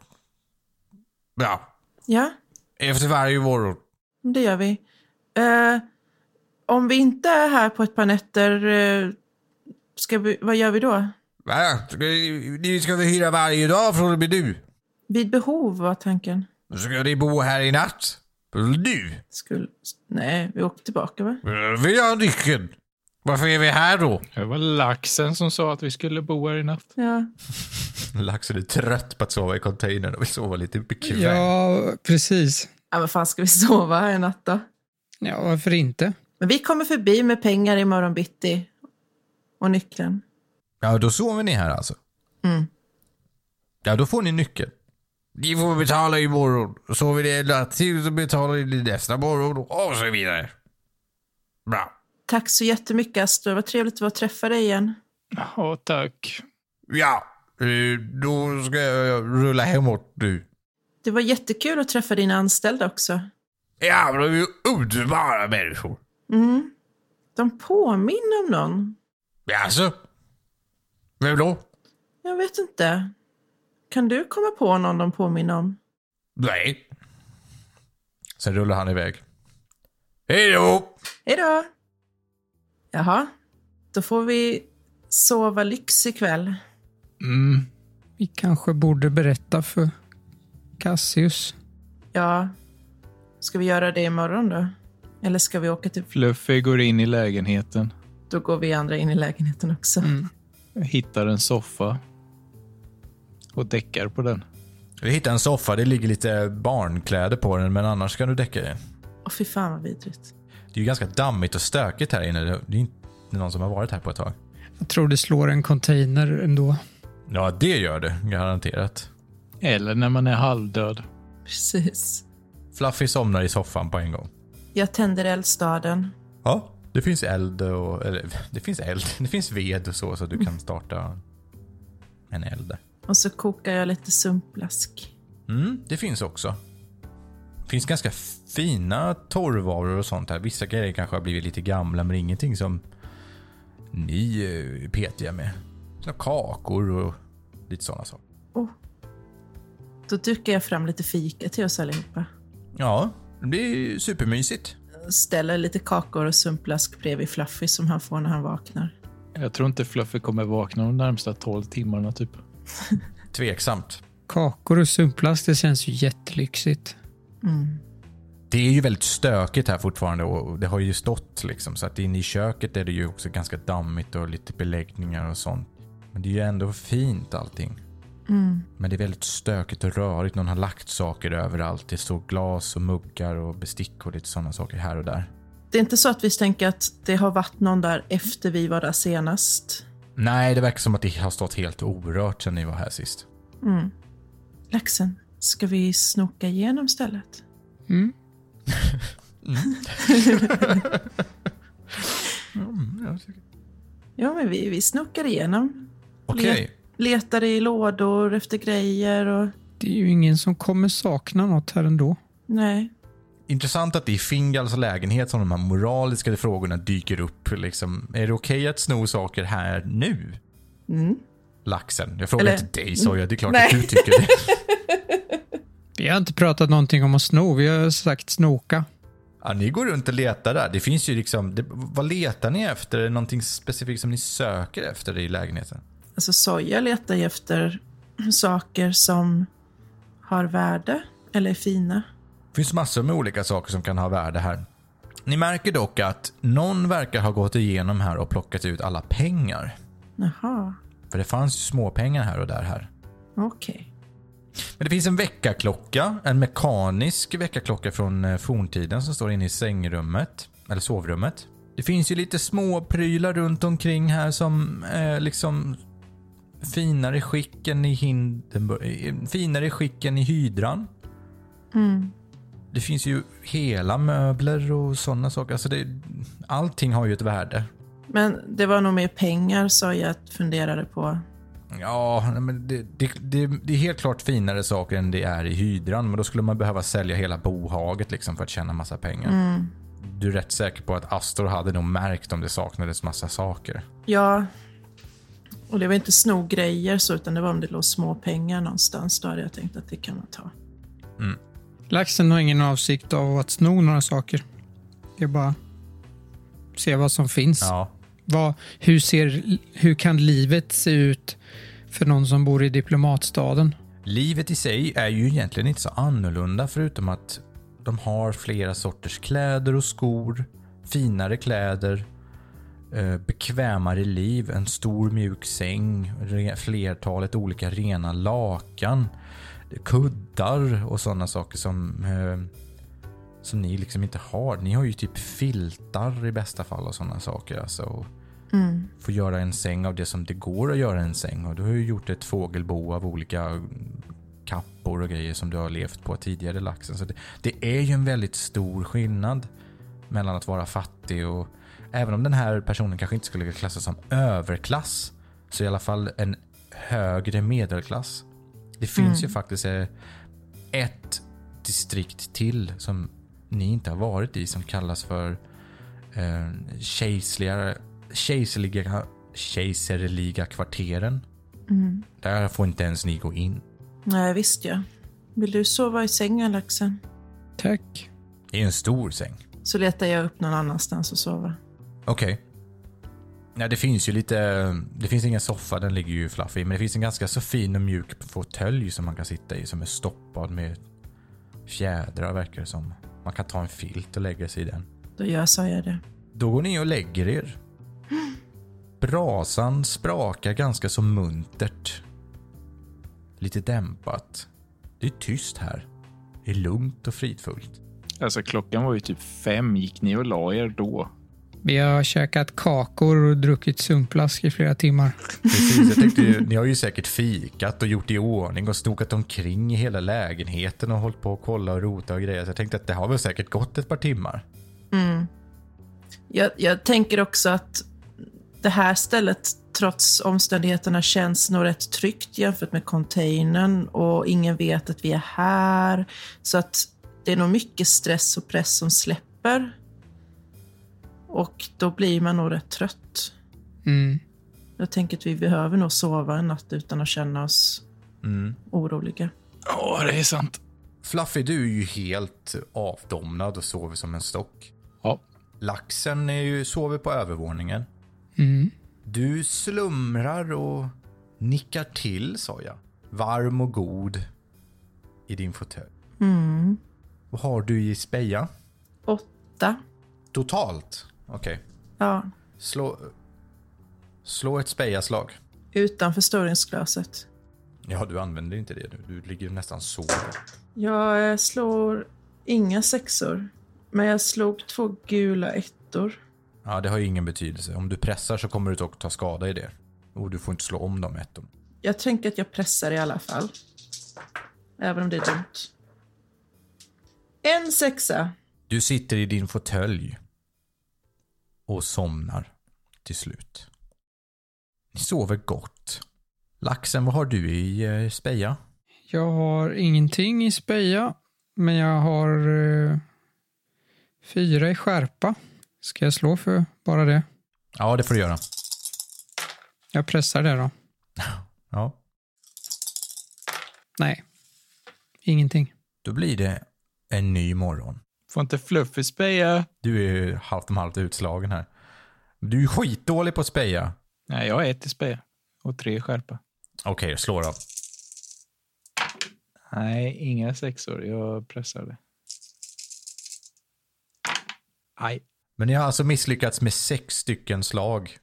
Speaker 1: Ja,
Speaker 3: Ja,
Speaker 1: efter varje morgon.
Speaker 3: det gör vi. Eh, om vi inte är här på ett par nätter, eh, ska vi, vad gör vi då?
Speaker 1: Va? Ni ska väl hyra varje dag från och med nu?
Speaker 3: Vid behov var tanken.
Speaker 1: Ska ni bo här i natt? Nu?
Speaker 3: Skulle, nej, vi åker tillbaka va?
Speaker 1: Vill jag ha nyckeln? Varför är vi här då?
Speaker 4: Det var laxen som sa att vi skulle bo här i natt.
Speaker 3: Ja.
Speaker 1: Laxen är trött på att sova i containern och vill sova lite bekvämt.
Speaker 2: Ja, precis.
Speaker 3: ja, men fan ska vi sova här en natt då?
Speaker 2: Ja, varför inte?
Speaker 3: Men vi kommer förbi med pengar imorgon bitti. Och nyckeln.
Speaker 1: ja, då sover ni här alltså?
Speaker 3: Mm.
Speaker 1: Ja, då får ni nyckeln. Ni får betala imorgon. Sover ni en natt till så betalar ni nästa morgon och så vidare. Bra.
Speaker 3: Tack så jättemycket Astro. Vad trevligt det var att träffa dig igen.
Speaker 4: Ja, tack.
Speaker 1: Ja, eh, då ska jag rulla hemåt nu.
Speaker 3: Det var jättekul att träffa dina anställda också.
Speaker 1: Ja, de är ju underbara människor.
Speaker 3: Mm. De påminner om någon.
Speaker 1: Jaså? alltså. Vem då?
Speaker 3: Jag vet inte. Kan du komma på någon de påminner om?
Speaker 1: Nej. Sen rullar han iväg. Hej då!
Speaker 3: Hej då! Jaha, då får vi sova lyx ikväll.
Speaker 4: Mm.
Speaker 2: Vi kanske borde berätta för Cassius.
Speaker 3: Ja, ska vi göra det imorgon då? Eller ska vi åka till...
Speaker 4: Fluffy går in i lägenheten,
Speaker 3: Då går vi andra in i lägenheten också.
Speaker 4: hittar en soffa och däckar på den.
Speaker 1: Du hittar en soffa, det ligger lite barnkläder på den, men annars kan du däcka dig.
Speaker 3: Åh, fy fan vad vidrigt.
Speaker 1: Det är ju ganska dammigt och stökigt här inne. Det är inte någon som har varit här på ett tag.
Speaker 2: Jag tror det slår en container ändå.
Speaker 1: Ja, det gör det. Garanterat.
Speaker 4: Eller när man är halvdöd.
Speaker 3: Precis.
Speaker 1: Fluffy somnar i soffan på en gång.
Speaker 3: Jag tänder eldstaden.
Speaker 1: Ja. Det finns eld och... Eller, det finns eld. Det finns ved och så, så du kan starta en eld där.
Speaker 3: Och så kokar jag lite sumpblask.
Speaker 1: Mm, det finns också. Det finns ganska fina torrvaror och sånt här. Vissa grejer kanske har blivit lite gamla men ingenting som ni eh, är petiga med. Så kakor och lite sådana saker.
Speaker 3: Då dukar jag fram lite fika till oss allihopa.
Speaker 1: Ja, det blir supermysigt.
Speaker 3: Ställer lite kakor och sumpblask bredvid Fluffy som han får när han vaknar.
Speaker 4: Jag tror inte Fluffy kommer vakna de närmsta 12 timmarna typ.
Speaker 1: Tveksamt.
Speaker 2: Kakor och sumpplast, det känns ju jättelyxigt.
Speaker 3: Mm.
Speaker 1: Det är ju väldigt stökigt här fortfarande och det har ju stått liksom så att inne i köket är det ju också ganska dammigt och lite beläggningar och sånt. Men det är ju ändå fint allting. Men det är väldigt stökigt och rörigt. Någon har lagt saker överallt. Det står glas och muggar och bestick och lite sådana saker här och där.
Speaker 3: Det är inte så att vi tänker att det har varit någon där efter vi var där senast.
Speaker 1: Nej, det verkar som att det har stått helt orört sedan ni var här sist.
Speaker 3: Mm. Laxen, ska vi snoka igenom stället?
Speaker 2: Mm.
Speaker 3: Ja, men vi, vi snokar igenom.
Speaker 1: Okej,
Speaker 3: Letar i lådor efter grejer och...
Speaker 2: Det är ju ingen som kommer sakna något här ändå.
Speaker 3: Nej.
Speaker 1: intressant att det är i Fingals lägenhet som de här moraliska frågorna dyker upp. Liksom, är det okej att sno saker här nu?
Speaker 3: Mm.
Speaker 1: Laxen. Jag frågar
Speaker 3: Eller-
Speaker 1: inte dig sa jag, det är klart
Speaker 3: Nej.
Speaker 1: att du tycker det.
Speaker 2: Vi har inte pratat någonting om att sno, vi har sagt snoka.
Speaker 1: Ja, ni går runt och letar där. Det finns ju liksom, det, vad letar ni efter? Är det någonting specifikt som ni söker efter i lägenheten?
Speaker 3: Alltså Soja letar ju efter saker som har värde eller är fina.
Speaker 1: Det finns massor med olika saker som kan ha värde här. Ni märker dock att någon verkar ha gått igenom här och plockat ut alla pengar.
Speaker 3: Jaha,
Speaker 1: För det fanns ju småpengar här och där här.
Speaker 3: okej.
Speaker 1: Men det finns en väckarklocka, en mekanisk väckarklocka från eh, forntiden som står inne i sängrummet, eller sovrummet. Det finns ju lite små prylar runt omkring här som eh, liksom finare skick än i Hindenburg, eh, finare skick än i hydran.
Speaker 3: Mm.
Speaker 1: Det finns ju hela möbler och sådana saker. Alltså det, allting har ju ett värde.
Speaker 3: Men det var nog mer pengar Soja funderade på.
Speaker 1: Ja, nej, men det, det, det, det är helt klart finare saker än det är i hydran. Men då skulle man behöva sälja hela bohaget liksom för att tjäna massa pengar. Du är rätt säker på att Astor hade nog märkt om det saknades massa saker.
Speaker 3: Ja, och det var inte sno grejer så, utan det var om det låg små pengar någonstans. Då hade jag tänkt att det kan man ta.
Speaker 2: Laxen har ingen avsikt av att sno några saker. Det är bara se vad som finns.
Speaker 1: Ja.
Speaker 2: Vad, hur, ser, hur kan livet se ut för någon som bor i diplomatstaden?
Speaker 1: Livet i sig är ju egentligen inte så annorlunda förutom att de har flera sorters kläder och skor, finare kläder, eh, bekvämare liv, en stor mjuk säng, re- flertalet olika rena lakan, kuddar och sådana saker som, eh, som ni liksom inte har. Ni har ju typ filtar i bästa fall och sådana saker. Alltså, och Får göra en säng av det som det går att göra en säng. Och du har ju gjort ett fågelbo av olika kappor och grejer som du har levt på tidigare laxen. Så det, det är ju en väldigt stor skillnad mellan att vara fattig och även om den här personen kanske inte skulle klassas som överklass så i alla fall en högre medelklass. Det finns ju faktiskt eh, ett distrikt till som ni inte har varit i som kallas för eh, kejserliga, kejserliga, kejserliga kvarteren. Där får inte ens ni gå in.
Speaker 3: Nej, visst ja. Vill du sova i sängen, laxen?
Speaker 2: Tack.
Speaker 1: Det är en stor säng.
Speaker 3: Så letar jag upp någon annanstans att sova.
Speaker 1: Okej. Ja, det finns ju lite... Det finns ingen soffa, den ligger ju fluffy. Men det finns en ganska så fin och mjuk fåtölj som man kan sitta i som är stoppad med fjädrar verkar det som. Man kan ta en filt och lägga sig i den.
Speaker 3: Då gör Soja det.
Speaker 1: Då går ni och lägger er. Brasan sprakar ganska så muntert. Lite dämpat. Det är tyst här. Det är lugnt och fridfullt.
Speaker 4: Alltså klockan var ju typ fem. Gick ni och la er då?
Speaker 2: Vi har käkat kakor och druckit sunkflask i flera timmar.
Speaker 1: Precis, jag tänkte ju, ni har ju säkert fikat och gjort i ordning och snokat omkring i hela lägenheten och hållit på och kolla och rota och grejer. Så jag tänkte att det har väl säkert gått ett par timmar.
Speaker 3: Jag, jag tänker också att det här stället trots omständigheterna känns nog rätt tryggt jämfört med containern och ingen vet att vi är här. Så att det är nog mycket stress och press som släpper. Och då blir man nog rätt trött.
Speaker 2: Mm.
Speaker 3: Jag tänker att vi behöver nog sova en natt utan att känna oss oroliga.
Speaker 4: Ja, det är sant.
Speaker 1: Fluffy, du är ju helt avdomnad och sover som en stock.
Speaker 4: Ja.
Speaker 1: Laxen är ju, sover på övervåningen.
Speaker 2: Mm.
Speaker 1: Du slumrar och nickar till, sa jag. Varm och god i din fåtölj.
Speaker 3: Mm.
Speaker 1: Vad har du i speja?
Speaker 3: Åtta.
Speaker 1: Totalt? Okej.
Speaker 3: Ja,
Speaker 1: Slå... Slå ett spejaslag.
Speaker 3: utan förstoringsglaset.
Speaker 1: Ja, du använder inte det nu. Du ligger nästan så.
Speaker 3: Jag eh, slår inga sexor. Men jag slog två gula ettor.
Speaker 1: Ja, det har ju ingen betydelse. Om du pressar så kommer du dock ta skada i det. Och du får inte slå om de ettorna.
Speaker 3: Jag tänker att jag pressar i alla fall. Även om det är dumt. En sexa.
Speaker 1: Du sitter i din fåtölj och somnar till slut. Ni sover gott. Laxen, vad har du i eh, speja?
Speaker 2: Jag har ingenting i speja, men jag har eh, fyra i skärpa. Ska jag slå för bara det?
Speaker 1: Ja, det får du göra.
Speaker 2: Jag pressar det då.
Speaker 1: Ja.
Speaker 2: Nej, ingenting.
Speaker 1: Då blir det en ny morgon.
Speaker 4: Får inte Fluffy speja?
Speaker 1: Du är ju halvt om halvt utslagen här. Du är ju skitdålig på att speja.
Speaker 4: Nej, jag har ett i speja och tre i skärpa.
Speaker 1: Okej, slå då.
Speaker 4: Nej, inga sexor. Jag pressar det. Aj.
Speaker 1: Men ni har alltså misslyckats med sex stycken slag.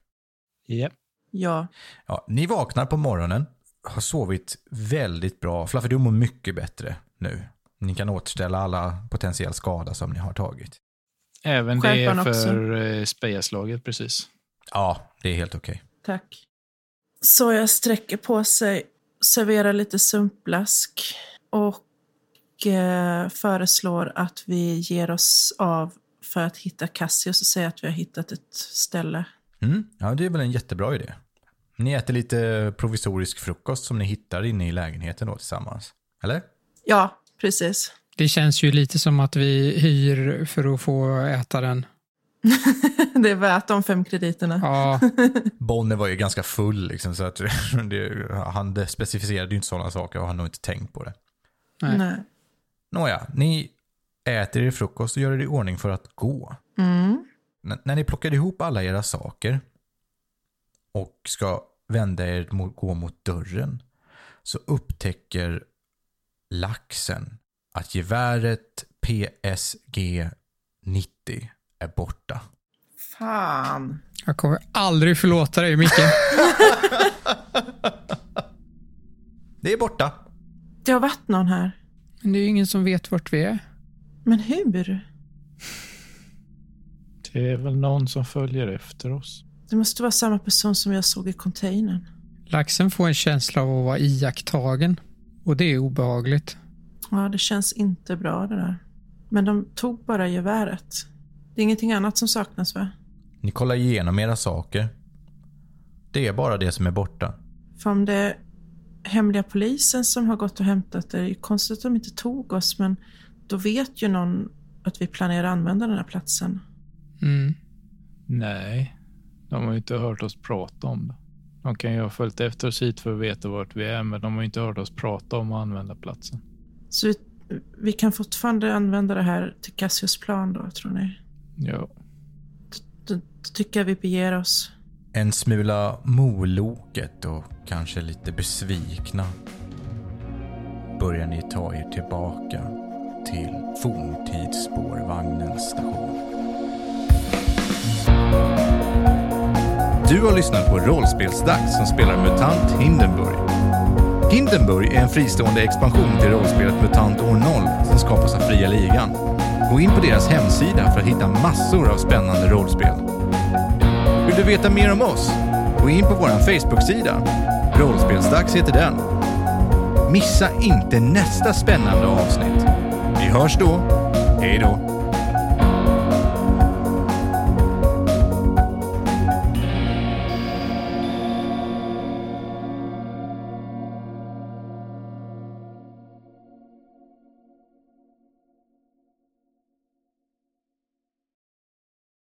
Speaker 4: Japp.
Speaker 3: Ja.
Speaker 1: Ja, ni vaknar på morgonen, har sovit väldigt bra. Fluffy, du mår mycket bättre nu. Ni kan återställa alla potentiell skada som ni har tagit.
Speaker 4: Även
Speaker 3: Skärpan
Speaker 4: det
Speaker 3: också.
Speaker 4: för eh, spejaslaget, precis.
Speaker 1: Ja, det är helt okej.
Speaker 3: Tack. Så jag sträcker på sig, serverar lite sumpblask och eh, föreslår att vi ger oss av för att hitta Cassius och säga att vi har hittat ett ställe.
Speaker 1: Mm. Ja, det är väl en jättebra idé. Ni äter lite provisorisk frukost som ni hittar inne i lägenheten då tillsammans. Eller?
Speaker 3: Ja, precis.
Speaker 2: Det känns ju lite som att vi hyr för att få äta den.
Speaker 3: det är värt de fem krediterna.
Speaker 2: Ja,
Speaker 1: Bonner var ju ganska full liksom, så att det, han specificerade ju inte sådana saker och han har nog inte tänkt på det.
Speaker 2: nej.
Speaker 3: Nej.
Speaker 1: Nåja, ni äter er frukost och gör er i ordning för att gå.
Speaker 3: Mm.
Speaker 1: N- när ni plockade ihop alla era saker och ska vända er mot, gå mot dörren så upptäcker laxen att geväret PSG 90 är borta.
Speaker 3: Fan.
Speaker 2: Jag kommer aldrig förlåta dig, Micke.
Speaker 1: Det är borta.
Speaker 3: Det har varit någon här.
Speaker 2: Men det är ju ingen som vet vart vi är.
Speaker 3: Men hur?
Speaker 4: Det är väl någon som följer efter oss.
Speaker 3: Det måste vara samma person som jag såg i containern.
Speaker 2: Laxen får en känsla av att vara iakttagen. Och det är obehagligt.
Speaker 3: Ja, det känns inte bra det där. Men de tog bara geväret. Det är ingenting annat som saknas va?
Speaker 1: Ni kollar igenom era saker. Det är bara det som är borta.
Speaker 3: För om det är hemliga polisen som har gått och hämtat det, det är ju konstigt att de inte tog oss men då vet ju någon att vi planerar att använda den här platsen.
Speaker 2: Mm.
Speaker 4: Nej, de har ju inte hört oss prata om det. De kan ju ha följt efter oss hit för att veta vart vi är, men de har ju inte hört oss prata om att använda platsen.
Speaker 3: Så vi, vi kan fortfarande använda det här till Cassius plan då, tror ni?
Speaker 4: Ja,
Speaker 3: Då, då tycker jag vi beger oss.
Speaker 1: En smula moloket och kanske lite besvikna börjar ni ta er tillbaka till forntidsspårvagnens station. Du har lyssnat på Rollspelsdags som spelar MUTANT Hindenburg. Hindenburg är en fristående expansion till rollspelet MUTANT år 0 som skapas av Fria Ligan. Gå in på deras hemsida för att hitta massor av spännande rollspel. Vill du veta mer om oss? Gå in på vår Facebook-sida. Rollspelsdags heter den. Missa inte nästa spännande avsnitt. Vi hörs då. Hej då.